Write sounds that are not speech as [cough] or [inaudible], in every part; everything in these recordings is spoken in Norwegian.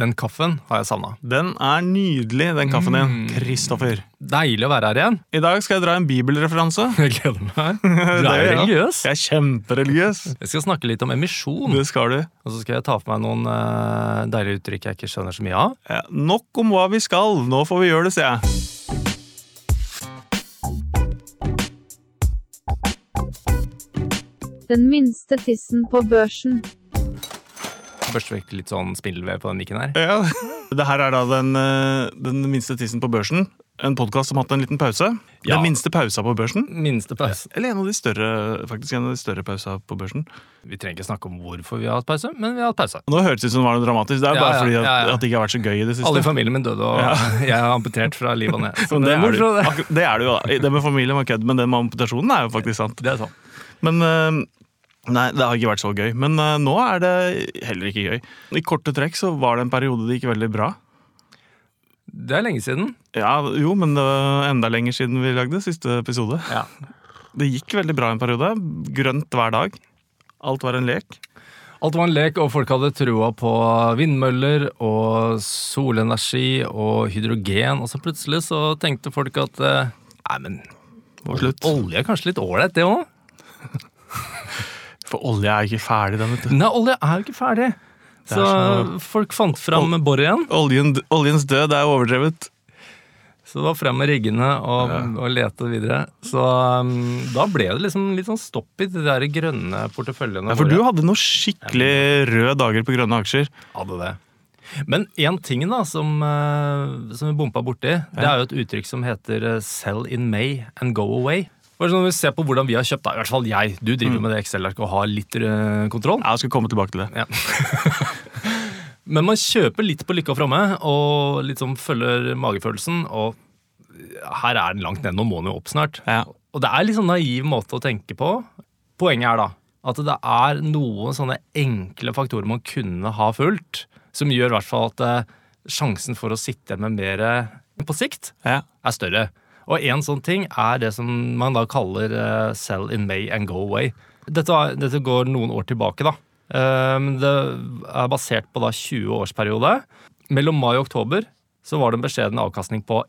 Den kaffen har jeg savna. Den er nydelig, den kaffen din. Mm. Kristoffer. Deilig å være her igjen. I dag skal jeg dra en bibelreferanse. Jeg gleder [laughs] meg. Du er jo gjør jeg. religiøs. Jeg er kjempereligiøs. Jeg skal snakke litt om emisjon, Det skal du. og så skal jeg ta for meg noen eh, deilige uttrykk jeg ikke skjønner så mye av. Ja, nok om hva vi skal. Nå får vi gjøre det, sier jeg. Den minste tissen på børsen. Først fikk jeg litt sånn spindelvev på den mikken her. Ja. [laughs] Det her er da den, eh, den minste tissen på børsen. En podkast som har hatt en liten pause. Ja. Den minste pausa på børsen. Minste pausen. Eller en av de større, faktisk en av de større pausa på børsen. Vi trenger ikke snakke om hvorfor vi har hatt pause, men vi har hatt pause. Nå høres det ut som det var noe dramatisk. Det er Ja, bare ja, fordi at, ja, ja. at det ikke har vært så gøy i det siste. Alle i familien min døde, og [laughs] jeg er amputert fra liv og [laughs] ned. Så Men det, er er du. morsomt, det. Akkur- det er du jo, da. Det med familien var kødd, men det med amputasjonen er jo faktisk sant. Det er sånn. Men eh, Nei, det har ikke vært så gøy. Men eh, nå er det heller ikke gøy. I korte trekk så var det en periode det gikk veldig bra. Det er lenge siden. Ja, Jo, men det var enda lenger siden vi lagde siste episode. Ja. Det gikk veldig bra en periode. Grønt hver dag. Alt var en lek. Alt var en lek, og folk hadde trua på vindmøller og solenergi og hydrogen, og så plutselig så tenkte folk at eh, Nei, men Og slutt. olje er kanskje litt ålreit, det òg? For olje er ikke ferdig, den, vet du. Nei, olje er jo ikke ferdig. er Så folk fant fram boret igjen. Oljen, oljens død er overdrevet. Så det var frem med riggene og, og lete videre. Så um, da ble det liksom litt sånn stopp i de der grønne porteføljene. Ja, For våre. du hadde noen skikkelig røde dager på grønne aksjer. hadde det. Men én ting da, som, eh, som vi bompa borti, det er jo et uttrykk som heter eh, 'sell in May and go away'. Bare sånn Når vi ser på hvordan vi har kjøpt, da, i hvert fall jeg. Du driver med det Excel-arket og har litt eh, kontroll. Jeg skal komme tilbake til det. Ja. [laughs] Men man kjøper litt på lykke og fromme, og liksom følger magefølelsen. Og her er den langt ned, nå må den jo opp snart. Ja. Og det er litt sånn naiv måte å tenke på. Poenget er da at det er noen sånne enkle faktorer man kunne ha fulgt, som gjør i hvert fall at eh, sjansen for å sitte igjen med mer eh, på sikt Ja. er større. Og en sånn ting er det som man da kaller eh, sell in May and go away. Dette, var- dette går noen år tilbake, da. Ehm, det er basert på da 20 årsperiode. Mellom mai og oktober så var det en beskjeden avkastning på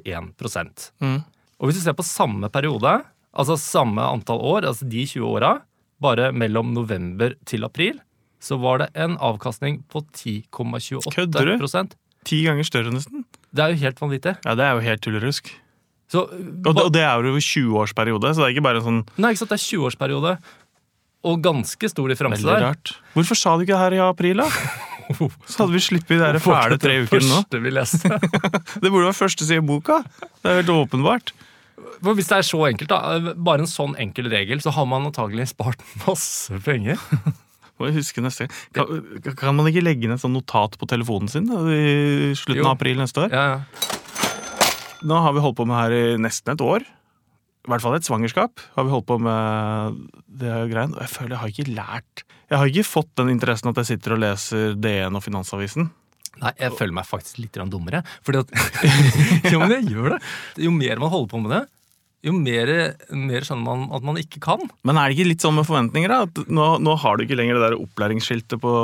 1,61 Mm. Og hvis du ser på samme periode, altså samme antall år, altså de 20 åra, bare mellom november til april, så var det en avkastning på 10,28 Kødder Ti ganger større, nesten. Det er jo helt vanvittig. Ja, Det er jo helt tullerusk. Så, Og det, og det er jo over 20-årsperiode, så det er ikke bare en sånn Nei, ikke sant, det er 20-årsperiode. Og ganske stor differanse veldig der. rart. Hvorfor sa du ikke det her i april, da? Så hadde vi sluppet de der fæle tre ukene nå. Første vi leste. Det burde være første side i boka. Det er helt åpenbart. [laughs] For hvis det er så enkelt, da, bare en sånn enkel regel, så har man antagelig spart [laughs] masse penger. Må jeg huske neste gang. Kan, kan man ikke legge inn et sånt notat på telefonen sin da, i slutten Jo. av april neste år? Ja, ja. Nå har vi holdt på med her i nesten et år. I hvert fall et svangerskap har vi holdt på med det greien. Og jeg føler jeg har ikke lært Jeg har ikke fått den interessen at jeg sitter og leser DN og Finansavisen. Nei, jeg føler meg faktisk litt grann dummere. Fordi at, [laughs] jo, men jeg gjør det. Jo mer man holder på med det, jo mer, mer skjønner man at man ikke kan. Men er det ikke litt sånn med forventninger, da? At nå, nå har du ikke lenger det der opplæringsskiltet på,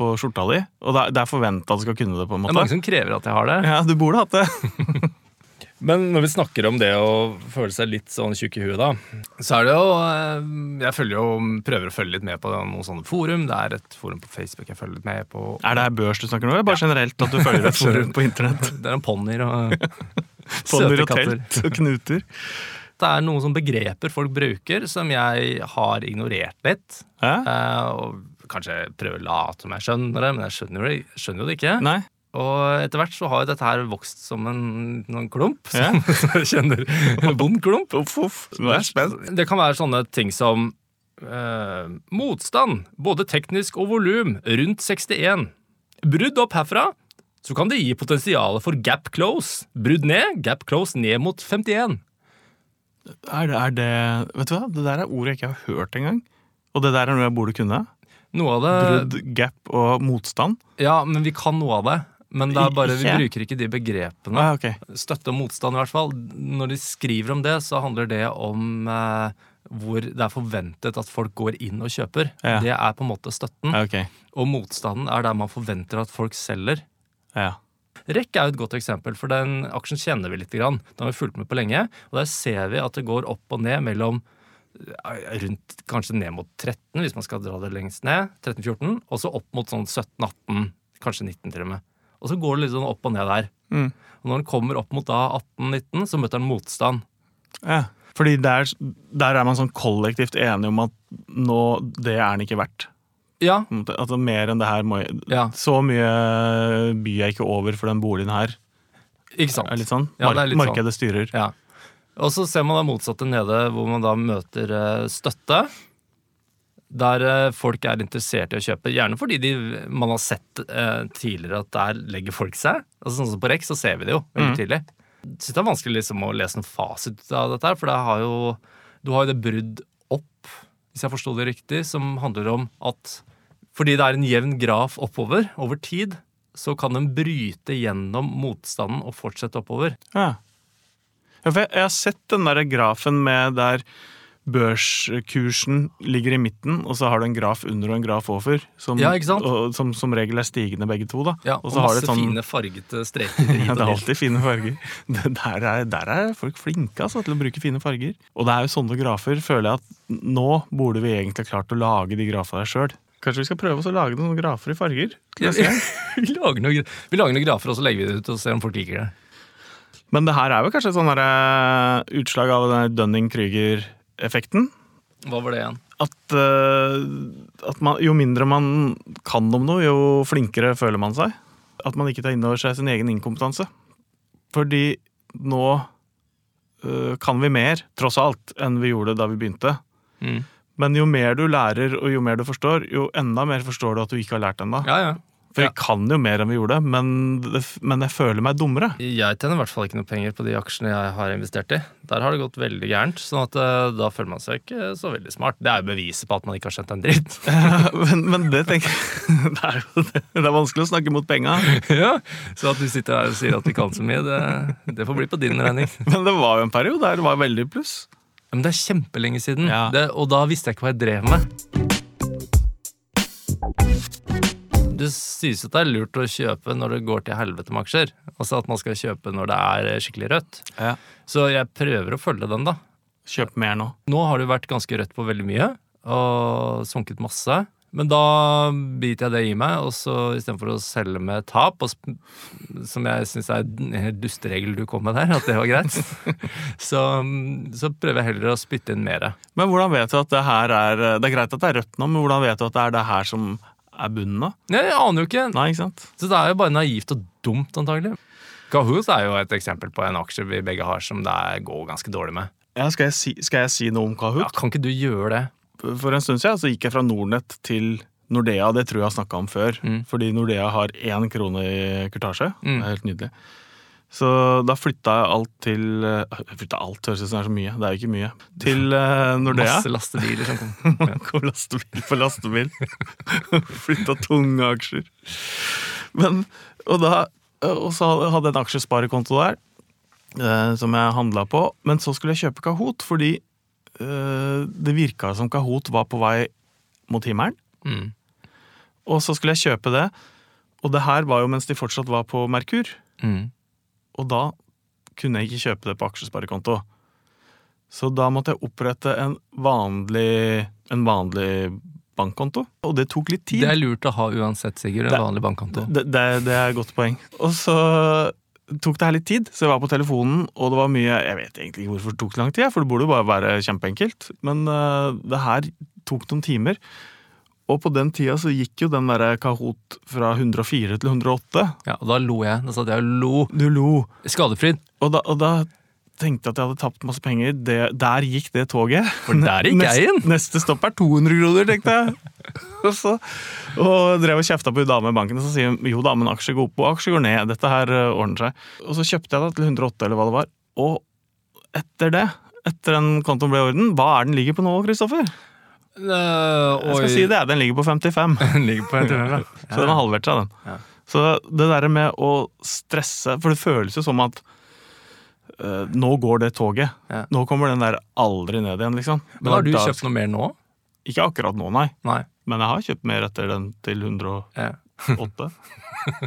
på skjorta di. Og det er, det er forventa at du skal kunne det, på en Det er mange måte. som krever at jeg har det. Ja, du burde hatt det. Men når vi snakker om det å føle seg litt sånn tjukk i huet, da, så er det jo eh, Jeg følger jo, prøver å følge litt med på noen sånne forum. Det er et forum på Facebook jeg følger litt med på. Er det her børs du snakker om, eller bare generelt at du følger et forum på internett? Det er en ponnier [laughs] og [laughs] Fonner søte og katter. telt og knuter. Det er noen sånne begreper folk bruker, som jeg har ignorert litt. Hæ? Eh, og kanskje prøver å late som jeg skjønner det, men jeg skjønner, jo det- skjønner jo det ikke. Nei? Og etter hvert så har jo dette her vokst som en, en klump, Ja. som [laughs] jeg kjenner en vond klump. Uff, uff. Nå er jeg spent. Det kan være sånne ting som eh, motstand, både teknisk og volum, rundt 61. Brudd opp herfra, så kan det gi potensialet for gap close. Brudd ned, gap close ned mot 51. Er det, er det Vet du hva, det der er ord jeg ikke har hørt engang. Og det der er noe jeg burde kunne. Noe av det Brudd, gap og motstand. Ja, men vi kan noe av det. Men det er bare, vi Ikke. bruker ikke de begrepene. Ah, ok. Støtte og motstand, i hvert fall. Når de skriver om det, så handler det om eh, hvor det er forventet at folk går inn og kjøper. Ja. Det er på en måte støtten. Ja, ok. Og motstanden er der man forventer at folk selger. Ja. REC er jo et godt eksempel, for den aksjen kjenner vi litt. Grann. Den har vi fulgt med på lenge, og der ser vi at det går opp og ned mellom eh, rundt kanskje ned mot 13, hvis man skal dra det lengst ned, 13-14, og så opp mot sånn 17-18, kanskje 19 til og med. Og så går det litt sånn opp og ned der. Mm. Og når den kommer opp mot da 18-19, så møter den motstand. ja. Fordi der, der er man sånn kollektivt enig om at nå, det er den ikke verdt. Ja, På en måte. Altså, mer enn det her må jeg ja, Så mye byr jeg ikke over for den boligen her. ikke sant. Er det litt sånn? Ja, det er litt sånn. Markedet styrer. Ja. Og så ser man det motsatte nede, hvor man da møter eh, støtte. Der eh, folk er interessert i å kjøpe, gjerne fordi de, man har sett eh, tidligere at der legger folk seg. Altså Sånn som på REC, så ser vi det jo veldig tidlig. Så det er vanskelig liksom å lese noen fasit ut av dette, her, for det har jo, du har jo det brudd opp, hvis jeg forsto det riktig, som handler om at fordi det er en jevn graf oppover over tid, så kan den bryte gjennom motstanden og fortsette oppover. Ja. Ja, for jeg, jeg har sett den der grafen med der børskursen ligger i midten, og så har du en graf under og en graf over, som, Ja, ikke sant? og, som, som regel er stigende begge to. da. Ja, og og, så har masse du et sånn- fine fargete [laughs] streker. Ja, det er alltid. alltid fine farger. [laughs] Det- Der er, der er folk flinke altså, til å bruke fine farger. Og det er jo sånne grafer, føler jeg at nå borde vi egentlig ha klart å lage de grafene der sjøl. Kanskje vi skal prøve oss å lage noen grafer i farger? neste gang? [laughs] vi, lager noen, gra- vi lager noen grafer, og så legger vi det ut og ser om folk liker det. Men det her er jo kanskje et sånn derre utslag av den der Dunning-Krüger-effekten. Hva var det igjen? At, eh, at man, jo mindre man kan om noe, jo flinkere føler man seg. At man ikke tar inn over seg sin egen inkompetanse. Fordi nå eh, kan vi mer, tross alt, enn vi gjorde da vi begynte. Mm. Men jo mer du lærer, og jo mer du forstår, jo enda mer forstår du at du ikke har lært ennå. Ja, ja. For ja. vi kan jo mer enn vi gjorde, men, det, men jeg føler meg [laughs] dummere. Jeg tjener i hvert fall ikke noe penger på de aksjene jeg har investert i. Der har det gått veldig gærent, sånn at eh, da føler man seg ikke så veldig smart. Det er jo beviset på at man ikke har skjønt en dritt. men, men det tenker jeg [laughs] det er, jo det. det er vanskelig å snakke mot penga. [laughs] ja. Så at du sitter her og sier at du kan så mye, det, det får bli på din regning. Men det var jo en periode der det var veldig pluss. Men det er kjempelenge siden, Ja. det, og da visste jeg ikke hva jeg drev med. Det sies at det er lurt å kjøpe når det går til helvete med aksjer. Altså at man skal kjøpe når det er skikkelig rødt. Ja. Så jeg prøver å følge den, da. Kjøp mer nå. Nå har det jo vært ganske rødt på veldig mye, og sunket masse. Men da biter jeg det i meg, og så istedenfor å selge med tap, og sp- som jeg syns er en helt dusteregel du kom med der, at det var [laughs] greit, så, så prøver jeg heller å spytte inn mere. Men hvordan vet du at det her er Det er greit at det er rødt nå, men hvordan vet du at det er det her som er bunnen nå? Nei, jeg aner jo ikke. Nei, ikke sant? Så det er jo bare naivt og dumt, antagelig. Kahoot er jo et eksempel på en aksje vi begge har som det er- går ganske dårlig med. Ja, skal, jeg si, skal jeg si noe om Kahoot? Ja, kan ikke du gjøre det? For en stund siden så gikk jeg fra Nordnett til Nordea. Det tror jeg jeg har snakka om før. Mm. Fordi Nordea har én krone i kurtasje. Mm. Det er helt nydelig. Så da flytta jeg alt til øh, Flytta alt, høres ut som det er så mye. Det er jo ikke mye. Til øh, Nordea. Masse lastebiler som [laughs] kommer. Ja. Kom lastebil på lastebil. [laughs] Flytta tunge aksjer. Men, og, da, og så hadde jeg en aksjesparekonto der, eh, som jeg handla på. Men så skulle jeg kjøpe Kahoot, fordi eh, det virka som Kahoot var på vei mot himmelen. Mm. Og så skulle jeg kjøpe det, og det her var jo mens de fortsatt var på Merkur. Mm. Og da kunne jeg ikke kjøpe det på aksjesparekonto. Så da måtte jeg opprette en vanlig, en vanlig bankkonto. Og det tok litt tid. Det er lurt å ha uansett, Sigurd. Det- En vanlig bankkonto. Det, det, det er et godt poeng. Og så tok det her litt tid, så jeg var på telefonen, og det var mye Jeg vet egentlig ikke hvorfor det tok så lang tid, jeg, for det burde jo bare være kjempeenkelt. Men eh, det her tok noen timer. Og på den tida så gikk jo den derre Kahoot fra 104 til 108. Ja, og da lo jeg. Da satt jeg og lo. Du lo. Skadefryd. Og da, og da tenkte jeg at jeg hadde tapt masse penger. Det, der gikk det toget. For der gikk jeg inn. Neste, neste stopp er 200 kroner, tenkte jeg. og så og drev og kjefta på hun dame i banken, og så sier hun jo da, men aksjer går opp og aksjer går ned. Dette her eh, ordner seg. Og så kjøpte jeg da til 108, eller hva det var. Og etter det, etter den kontoen ble i orden, hva er den ligger på nå, Kristoffer? Jeg skal si det, den ligger på [laughs] 55. Den ligger på en tur, [laughs] Så den har halvert seg, den. Ja. Så det der med å stresse For det føles jo som at eh, nå går det toget. Ja. Nå kommer den der aldri ned igjen, liksom. Men har du da- kjøpt noe mer nå? Ikke akkurat nå, nei. Nei. Men jeg har kjøpt mer etter den til 108. Ja. [laughs]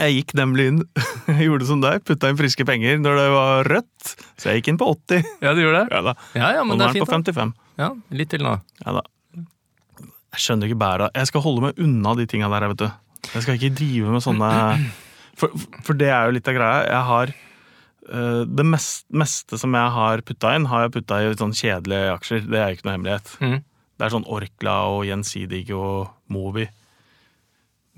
Jeg gikk nemlig inn. [laughs] Jeg gjorde som deg, putta inn friske penger når det var rødt. Så jeg gikk inn på 80. ja, du gjør det? Ja da. Ja, ja, Og men nå det er er den på fint. 55. Da. Ja, litt til nå. Ja da. Jeg skjønner ikke bæret. av- Jeg skal holde meg unna de tinga der, jeg, vet du. Jeg skal ikke drive med sånne For, for det er jo litt av greia. Jeg har eh, det mest, meste som jeg har putta inn, har jeg putta i sånn kjedelige aksjer. Det er jo ikke noe hemmelighet. Mhm. Det er sånn Orkla og Gjensidig og Movi.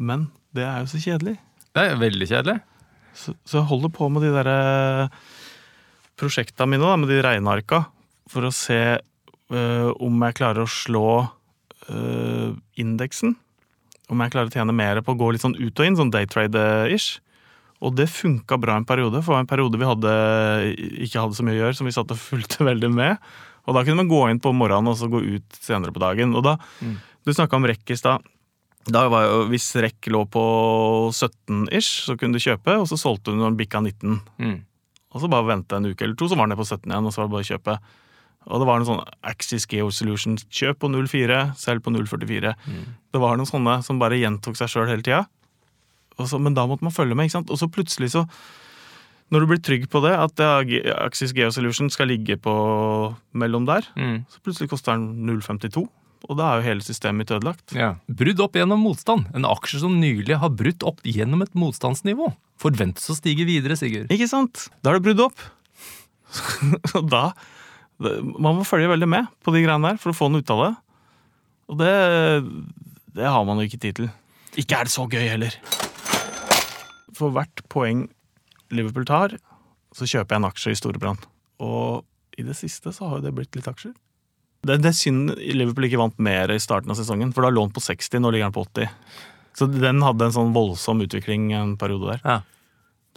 Men det er jo så kjedelig. Det er veldig kjedelig. Så, så jeg holder på med de der eh, prosjekta mine, da, med de regnearka, for å se eh, om jeg klarer å slå eh, indeksen. Om jeg klarer å tjene mer på å gå litt sånn ut og inn, sånn daytrade-ish. Og det funka bra en periode, for det var en periode vi hadde, eh, ikke hadde så mye å gjøre, som vi satt og fulgte [laughs] veldig med. Og da kunne man gå inn på morgenen og så gå ut senere på dagen. Og da, Mm. Du snakka om rekk i stad. Da var jo, Hvis rekk lå på 17-ish, så kunne du kjøpe, og så solgte du når den bikka 19. Mm. Og så bare vente en uke eller to, så var den ned på 17 igjen, og så var det bare å kjøpe. Og det var noen sånne Axis Geo Solutions, kjøp på 04, selg på 044. Det var noen sånne som bare gjentok seg sjøl hele tida. Og så- Men da måtte man følge med, ikke sant. Og så plutselig så Når du blir trygg på det, at ja, Ge- Axis Geo Solutions skal ligge på mellom der, Mm. så plutselig koster den 0,52. Og da er jo hele systemet mitt ødelagt. Ja. Brudd opp gjennom motstand. En aksje som nylig har brutt opp gjennom et motstandsnivå. Forventes å stige videre, Sigurd. Ikke sant? Da er det brudd opp. [laughs] Og da det- Man må følge veldig med på de greiene der for å få den ut av det. Og det, det har man jo ikke tid til. Ikke er det så gøy heller. For hvert poeng Liverpool tar, så kjøper jeg en aksje i Storebrand. Og i det siste så har jo det blitt litt aksjer. Det, det er synd Liverpool ikke vant mer i starten av sesongen, for da lå den på 60, nå ligger den på 80. Så den hadde en sånn voldsom utvikling en periode der. Ja.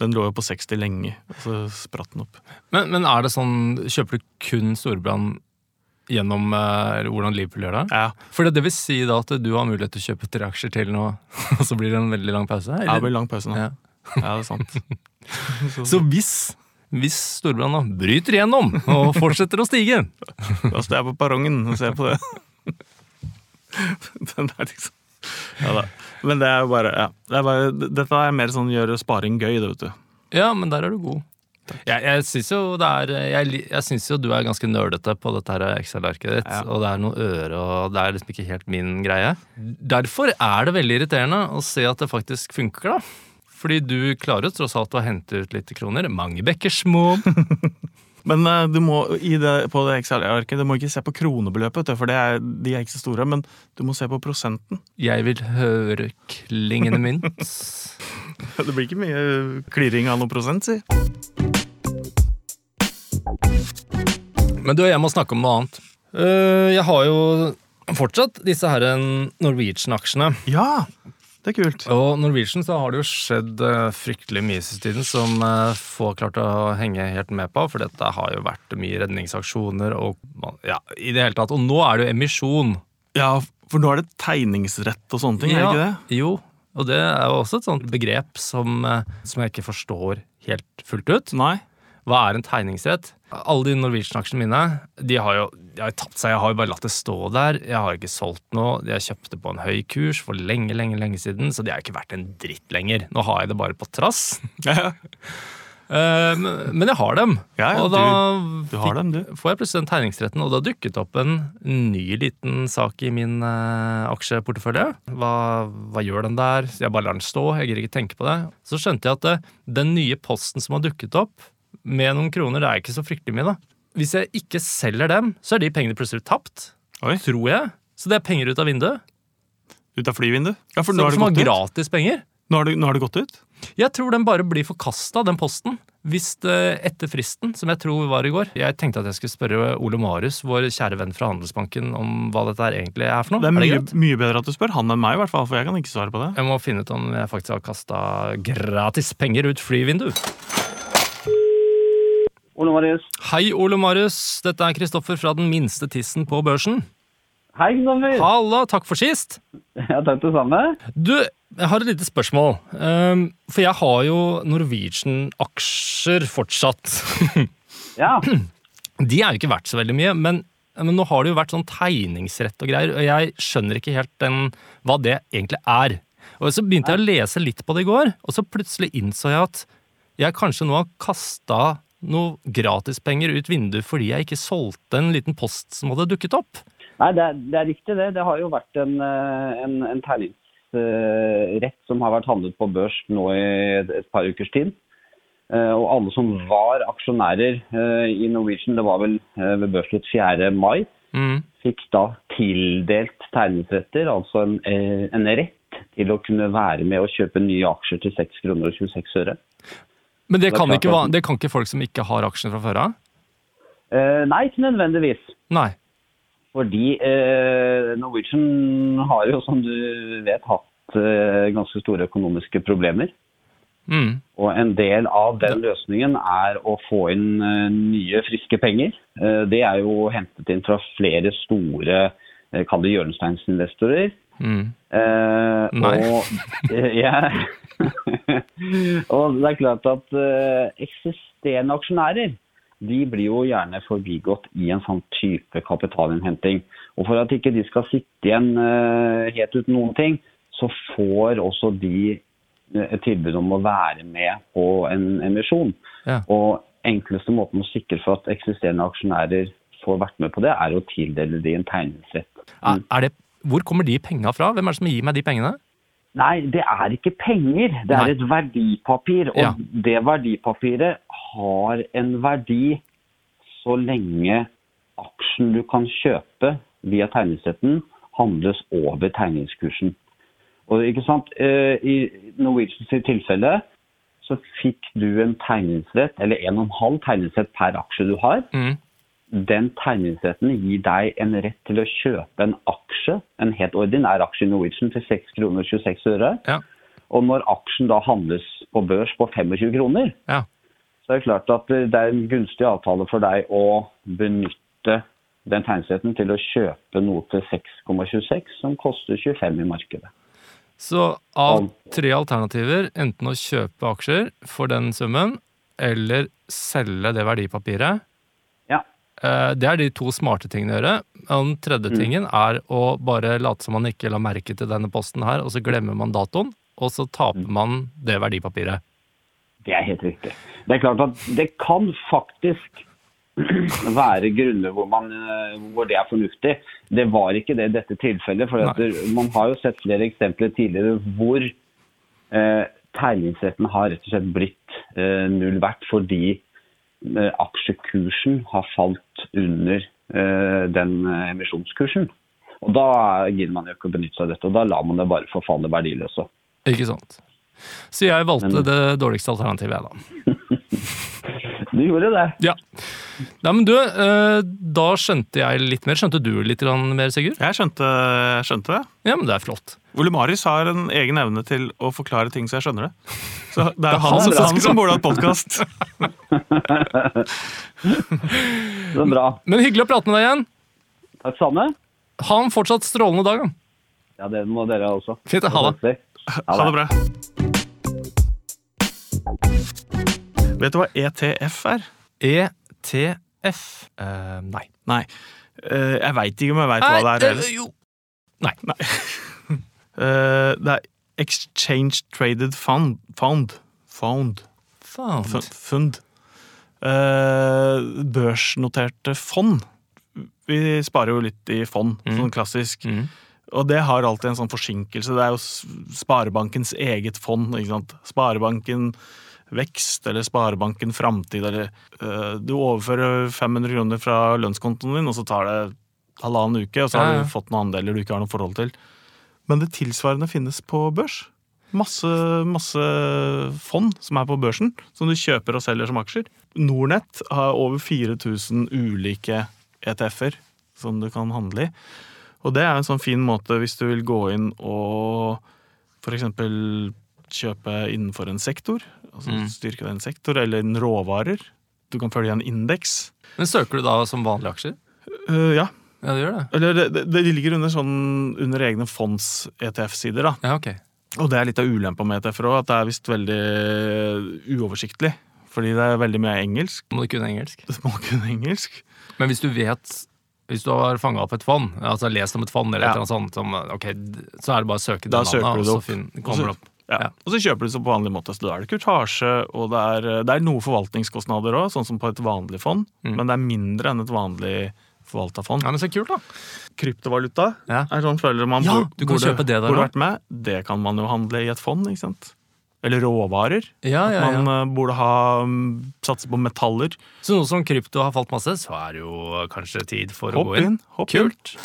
Den lå jo på 60 lenge, og så spratt den opp. Men, men er det sånn, kjøper du kun Storbrann gjennom eh, eller hvordan Liverpool gjør det? Ja, For det, det vil si da at du har mulighet til å kjøpe tre aksjer til nå, [laughs] og så blir det en veldig lang pause? det Eller? blir lang pause nå. Ja. Ja, det er sant. Så hvis, hvis Storbrann da bryter gjennom og fortsetter å stige, Da står Altså, jeg på perrongen og ser på det. [laughs] Den er liksom Ja da. Men det er jo bare, ja. det er bare Dette er mer sånn gjøre sparing gøy, det, vet du. ja, men der er du god. Jeg, jeg syns jo, det er- jeg, li- jeg synes jo du er ganske nølete på dette her Excel-arket ditt. Ja. Og det er noe øre, og det er liksom ikke helt min greie. Derfor er det veldig irriterende å se at det faktisk funker, da. Fordi du klarer jo tross alt å hente ut litt kroner. Mange bekker [laughs] små. Men eh, du må i det, på det Excel-arket, du må ikke se på kronebeløpet, vet du, for det er, de er ikke så store, men du må se på prosenten. Jeg vil høre klingende mynt. [laughs] Det blir ikke mye klirring av noen prosent, si. Men du, jeg må snakke om noe annet. Eh, jeg har jo fortsatt disse her eh, Norwegian-aksjene. Ja! Det er kult. Og Norwegian så har det jo skjedd eh, fryktelig mye siste tiden som eh, få har klart å henge helt med på, for dette har jo vært mye redningsaksjoner og man, ja, i det hele tatt. Og nå er det jo emisjon. Ja, for nå er det tegningsrett og sånne ting, er det ikke det? Jo, og det er jo også et sånt begrep som, eh, som jeg ikke forstår helt fullt ut. Nei. Hva er en tegningsrett? Alle de Norwegian-aksjene mine de har jo de har jo tapt seg. Jeg har jo bare latt det stå der. Jeg har ikke solgt noe. Jeg kjøpte på en høy kurs for lenge lenge, lenge siden, så de er ikke verdt en dritt lenger. Nå har jeg det bare på trass. Eh, men men jeg har dem. Ja, ja, og da Du har dem, du. fikk- får jeg plutselig den tegningsretten, og det har dukket opp en ny liten sak i min eh, aksjeportefølje. Hva, hva gjør den der? Jeg bare lar den stå, jeg gidder ikke tenke på det. Så skjønte jeg at eh, den nye posten som har dukket opp, med noen kroner, det er ikke så fryktelig mye, da. Hvis jeg ikke selger dem, så er de pengene plutselig tapt. Oi. Tror jeg. Så det er penger ut av vinduet. Ut av flyvinduet? Ja, for Som, nå har, det som har gått ut. gratis penger. Nå, har det, nå har det gått ut? Jeg tror den bare blir forkasta, den posten. Hvis det, etter fristen, som jeg tror var i går Jeg tenkte at jeg skulle spørre Ole Marius, vår kjære venn fra Handelsbanken, om hva dette her egentlig er for noe. Det er mye, greit? mye bedre at du spør han enn meg, i hvert fall, for jeg kan ikke svare på det. Jeg må finne ut om jeg faktisk har kasta gratis penger ut flyvindu. Ole Marius. Hei, Ole Marius. Dette er Kristoffer fra Den minste tissen på børsen. Hei, Kristoffer. Halla, takk for sist! [laughs] Ja, takk det samme. Du, jeg har et lite spørsmål. Ehm, for jeg har jo Norwegian-aksjer fortsatt. [laughs] Ja. De er jo ikke verdt så veldig mye, men, men nå har det jo vært sånn tegningsrett og greier, og jeg skjønner ikke helt den, hva det egentlig er. Og så begynte jeg å lese litt på det i går, og så plutselig innså jeg at jeg kanskje nå har kasta noe gratispenger ut vinduet fordi jeg ikke solgte en liten post som hadde dukket opp. Nei, det er, det er riktig det. Det har jo vært en, eh, en, en terningsrett som har vært handlet på børs nå i et, et par ukers tid. Eh, Og alle som var aksjonærer eh, i Norwegian, det var vel eh, ved børsslutt 4. mai, Mm. fikk da tildelt tegningsretter, altså en, eh, en rett til å kunne være med og kjøpe nye aksjer til 6 kroner og 26 øre. Men det Det er kan, klart ikke, at- va- det kan ikke folk som ikke har aksjene fra før av? Eh, Nei, ikke nødvendigvis. Nei. Fordi eh, Norwegian har jo, som du vet, hatt eh, ganske store økonomiske problemer. Mm. Og en del av den løsningen er å få inn eh, nye, friske penger. Eh, det er jo hentet inn fra flere store eh, kall det hjørnesteinsinvestorer. Mm. Eh, Nei. Og, eh, ja. [laughs] og det er klart at eh, eksisterende aksjonærer de blir jo gjerne forbigått i en sånn type kapitalinnhenting. Og for at ikke de skal sitte igjen eh, helt uten noen ting, så får også de eh, et tilbud om å være med på en emisjon. Ja. Og enkleste måten å sikre for at eksisterende aksjonærer får vært med på det, er å tildele de en tegningsrett. Er, er det, hvor kommer de penga fra? Hvem er det som gir meg de pengene? Nei, det er ikke penger. Det er Nei. et verdipapir. Og Ja. det verdipapiret har en verdi så lenge aksjen du kan kjøpe via tegningsretten, handles over tegningskursen. Og ikke sant, eh, I Norwegians tilfelle så fikk du en tegningsrett, eller en og en halv tegningsrett per aksje du har. Mm. Den tegningsretten gir deg en rett til å kjøpe en aksje, en helt ordinær aksje i Norwegian, til 6 kroner 26 øre. Ja. Og når aksjen da handles på børs på 25 kroner, Ja. så er det klart at det er en gunstig avtale for deg å benytte den tegnsretten til å kjøpe noe til 6,26 som koster 25 i markedet. Så av Om- tre alternativer, enten å kjøpe aksjer for den summen, eller selge det verdipapiret, Ja, eh, det er de to smarte tingene å gjøre. Og den tredje tingen er å bare late som man ikke la merke til denne posten her, og så glemmer man datoen, og så taper man det verdipapiret. det er helt riktig. Det er klart at det kan faktisk [clears throat] være grunner hvor, man, eh, hvor det er fornuftig. Det var ikke det i dette tilfellet. For at Nei. det- man har jo sett flere eksempler tidligere hvor eh, tegningsretten har rett og slett blitt eh, null verdt fordi eh, aksjekursen har falt under eh, den eh, emisjonskursen. Og da gidder man jo ikke å benytte seg av dette, og da lar man det bare forfalle verdiløse. Ikke sant? Så jeg valgte Men- det dårligste alternativet, jeg, da. Du gjorde det. Ja. Nei, men du, eh, da skjønte jeg litt mer. Skjønte du litt grann mer, Sigurd? Jeg skjønte, jeg skjønte det. Ja, men det er flott. Ole Marius har en egen evne til å forklare ting så jeg skjønner det. Så Det er jo han, han som- som han som burde hatt [laughs] podkast. Det var bra. Men hyggelig å prate med deg igjen. Takk, Sanne. Ha en fortsatt strålende dag. da. Ja, det må dere også. Fint, ha det. Ha det bra. Vet du hva ETF er? ETF E Eh, Nei. Nei. Eh, Jeg veit ikke om jeg veit hva det er. Nei, heller. eh, jo. Eh, Det er Exchange Traded Fund. Fund. Fund. Fund. Faen. fund. Eh, børsnoterte fond. Vi sparer jo litt i fond, sånn klassisk. Mm. Og det har alltid en sånn forsinkelse. Det er jo s- Sparebankens eget fond. ikke sant? Sparebanken Vekst eller Sparebanken Framtid eller eh, Du overfører 500 kroner fra lønnskontoen din, og så tar det halvannen uke, og så har Ja, ja. du fått noen andeler du ikke har noe forhold til. Men det tilsvarende finnes på børs. Masse, masse fond som er på børsen, som du kjøper og selger som aksjer. Nordnett har over 4000 ulike ETF-er som du kan handle i. Og det er en sånn fin måte hvis du vil gå inn og f.eks. kjøpe innenfor en sektor. Altså Mm. styrke den sektor, eller en råvarer. Du kan følge en indeks. Men søker du da som vanlige aksjer? Eh, ja. Ja, det gjør det. Eller det, det, det ligger under, sånn, under egne fonds-ETF-sider, da. Ja, ok. Og det er litt av ulempa med ETF-er òg, at det er visst veldig eh, uoversiktlig. Fordi det er veldig mye engelsk. Må du kunne engelsk? Du må kunne [laughs] engelsk. Men hvis du vet hvis du har fanga opp et fond, altså lest om et fond, eller et Ja. eller annet sånt, som, ok, d- så er det bare å søke det Da navnet, søker du og det så opp. fin, Og så- kommer det opp. Ja. Ja. Og så kjøper du det på vanlig måte. Så da er det kurtasje, og det er, eh, det er noe forvaltningskostnader òg, sånn som på et vanlig fond, Mm. men det er mindre enn et vanlig forvalta fond. Ja, men Så kult, da! Kryptovaluta Ja. er sånn føler man Ja, bor- du kan burde- kjøpe det der burde også. vært med. Det kan man jo handle i et fond, ikke sant. Eller råvarer. Ja, ja, ja. Man eh, burde ha mm, satse på metaller. Så nå som krypto har falt masse, så er det jo kanskje tid for å Hopp gå inn. inn. Hopp Kult.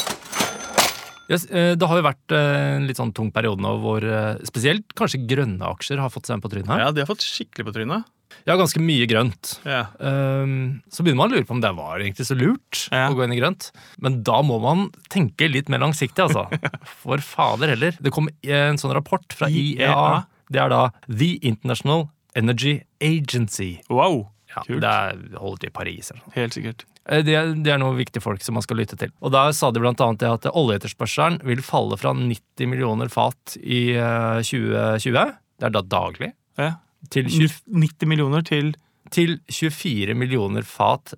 Yes, eh, det har jo vært eh, en litt sånn tung periode nå hvor eh, spesielt kanskje grønne aksjer har fått seg en på trynet her. Ja, de har fått skikkelig på trynet. Ja, ganske mye grønt. Ja. Ehm, så begynner man å lure på om det var egentlig så lurt Ja. å gå inn i grønt. Men da må man tenke litt mer langsiktig, [laughs] altså. For fader heller. Det kom en sånn rapport fra IEA. IEA. Det er da The International Energy Agency. Wow! Ja, Kult. det er, holder til Paris eller noe. Helt sikkert. Eh, Det, er- det er noen viktige folk som man skal lytte til. Og Der sa de blant annet det at oljeetterspørselen vil falle fra 90 millioner fat i eh, 2020, det er da daglig, Ja. til, 20, 90 millioner til til 24 millioner fat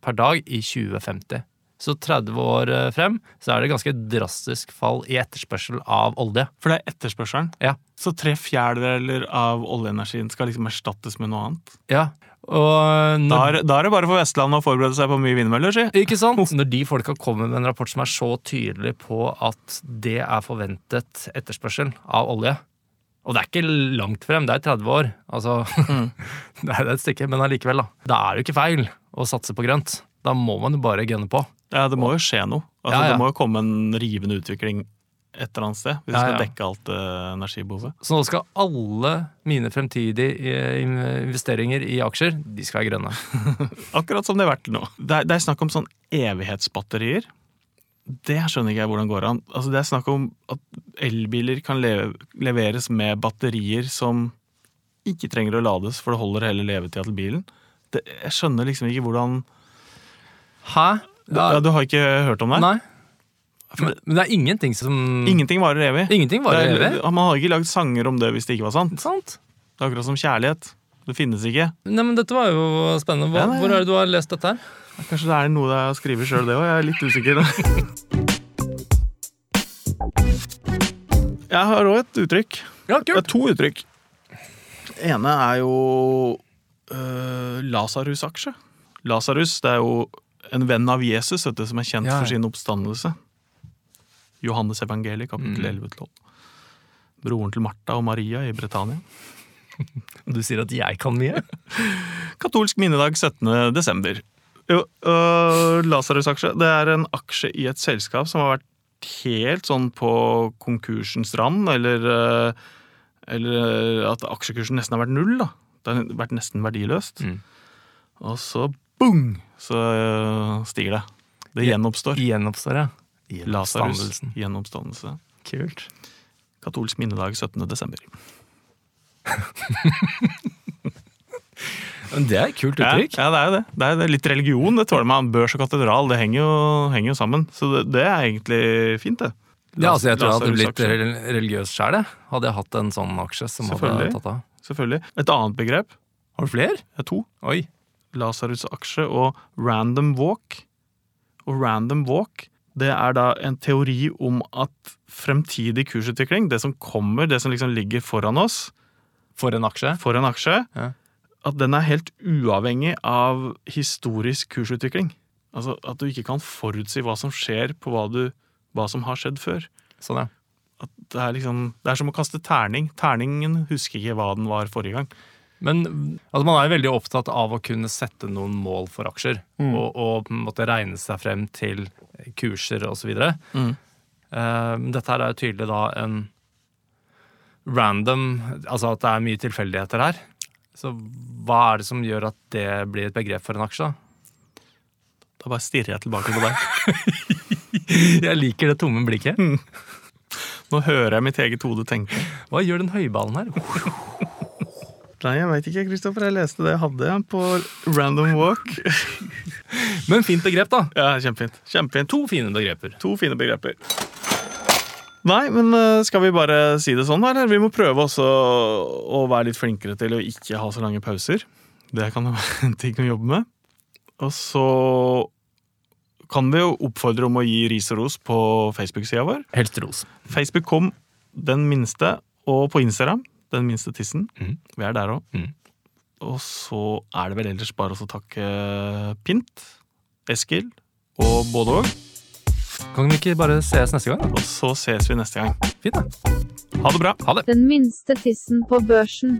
per dag i 2050. Så 30 år eh, frem så er det ganske drastisk fall i etterspørsel av olje. For det er etterspørselen. Ja. Så tre fjerdedeler av oljeenergien skal liksom erstattes med noe annet. Ja, og eh, Da når, er, da er det bare for Vestlandet å forberede seg på mye vindmøller, si. ikke sant? når de folka kommer med en rapport som er så tydelig på at det er forventet etterspørsel av olje Og det er ikke langt frem, det er 30 år. Altså, [laughs] det er et stykke, men allikevel, da. Da er det jo ikke feil å satse på grønt. Da må man jo bare gunne på. Ja, det må jo skje noe. Altså, Ja, ja. Det må jo komme en rivende utvikling et eller annet sted. Hvis vi Ja, skal ja. dekke alt eh, energibehovet. Så nå skal alle mine fremtidige eh, investeringer i aksjer, de skal være grønne. Akkurat som det har vært til nå. Det er, det er snakk om sånn evighetsbatterier. Det skjønner ikke jeg hvordan går an. Altså, det er snakk om at elbiler kan leve, leveres med batterier som ikke trenger å lades, for det holder hele levetida til bilen. Det, jeg skjønner liksom ikke hvordan Hæ? ja, Du har ikke hørt om det? Nei. Men, men det er ingenting som Ingenting varer evig. Ingenting varer Det er- evig. Man har ikke lagd sanger om det hvis det ikke var sant. Ikke sant? Det er akkurat som kjærlighet. Det finnes ikke. Nei, men dette var jo spennende. Hvor, Ja, nei, ja. hvor er det du har lest dette her? Kanskje det er noe det er å skrive sjøl, det òg. Jeg er litt usikker. [laughs] Jeg har òg et uttrykk. Ja, Det er to uttrykk. ene er jo øh, Lasarus-aksje. Lasarus det er jo en venn av Jesus vet du, som er kjent Ja, ja. for sin oppstandelse. Johannes evangeliet, kapittel Mm. 11 til 12. Broren til Martha og Maria i Britannia. Du sier at jeg kan mye? Katolsk minnedag 17. desember. Jo, øh, Lasarus-aksje det er en aksje i et selskap som har vært helt sånn på konkursens rand, eller, øh, eller øh, at aksjekursen nesten har vært null. da. Det har vært nesten verdiløst. Mm. Og så bung, så øh, stiger det. Det gjenoppstår. Gjenoppstår, ja. Lasarus. Oppstandelsen. Gjenoppstandelse. Kult. Katolsk minnedag 17. desember. Men det er et kult Ja, uttrykk. Ja, det er jo det. det, er jo det. Litt religion, det tåler man. Børs og katedral, det henger jo, henger jo sammen. Så det, det er egentlig fint, det. Ja, altså, jeg tror jeg hadde blitt Lasarus-aksjen, rel- religiøs sjæl, jeg. Hadde jeg hatt en sånn aksje som hadde Selvfølgelig. tatt av. Selvfølgelig. Et annet begrep Har du flere? er to. Oi. Lasarus-aksje og random walk. Og random walk, det er da en teori om at fremtidig kursutvikling, det som kommer, det som liksom ligger foran oss, For en aksje. for en aksje, Ja. at den er helt uavhengig av historisk kursutvikling. Altså at du ikke kan forutsi hva som skjer på hva, du, hva som har skjedd før. Sånn, ja. At det, er liksom, det er som å kaste terning. Terningen husker ikke hva den var forrige gang. Men altså, man er jo veldig opptatt av å kunne sette noen mål for aksjer. Og, og på en måte regne seg frem til kurser osv. Mm. Eh, dette her er jo tydelig da en random Altså at det er mye tilfeldigheter her. Så hva er det som gjør at det blir et begrep for en aksje? da? [laughs] Da bare stirrer jeg tilbake på deg. Jeg liker det tomme blikket. Nå hører jeg mitt eget hode tenke. Hva gjør den høyballen her? Nei, jeg veit ikke, Kristoffer. Jeg leste det jeg hadde på Random Walk. Men fint begrep, da. Ja, kjempefint. Kjempefint. To fine begreper. To fine begreper. Nei, men eh, skal vi bare si det sånn, eller? Vi må prøve også å være litt flinkere til å ikke ha så lange pauser. Det kan jo [laughs] være en ting å jobbe med. Og så kan vi jo oppfordre om å gi ris og ros på Facebook-sida vår. Helst ros. Facebook kom den minste, og på Instagram den minste tissen. Mhm. Vi er der òg. Mhm. Og så er det vel ellers bare å takke Pint, Eskil og både òg. Kan vi ikke bare ses neste gang? da? Og så ses vi neste gang. Fint, da. Ha det bra. Ha det. Den minste tissen på børsen.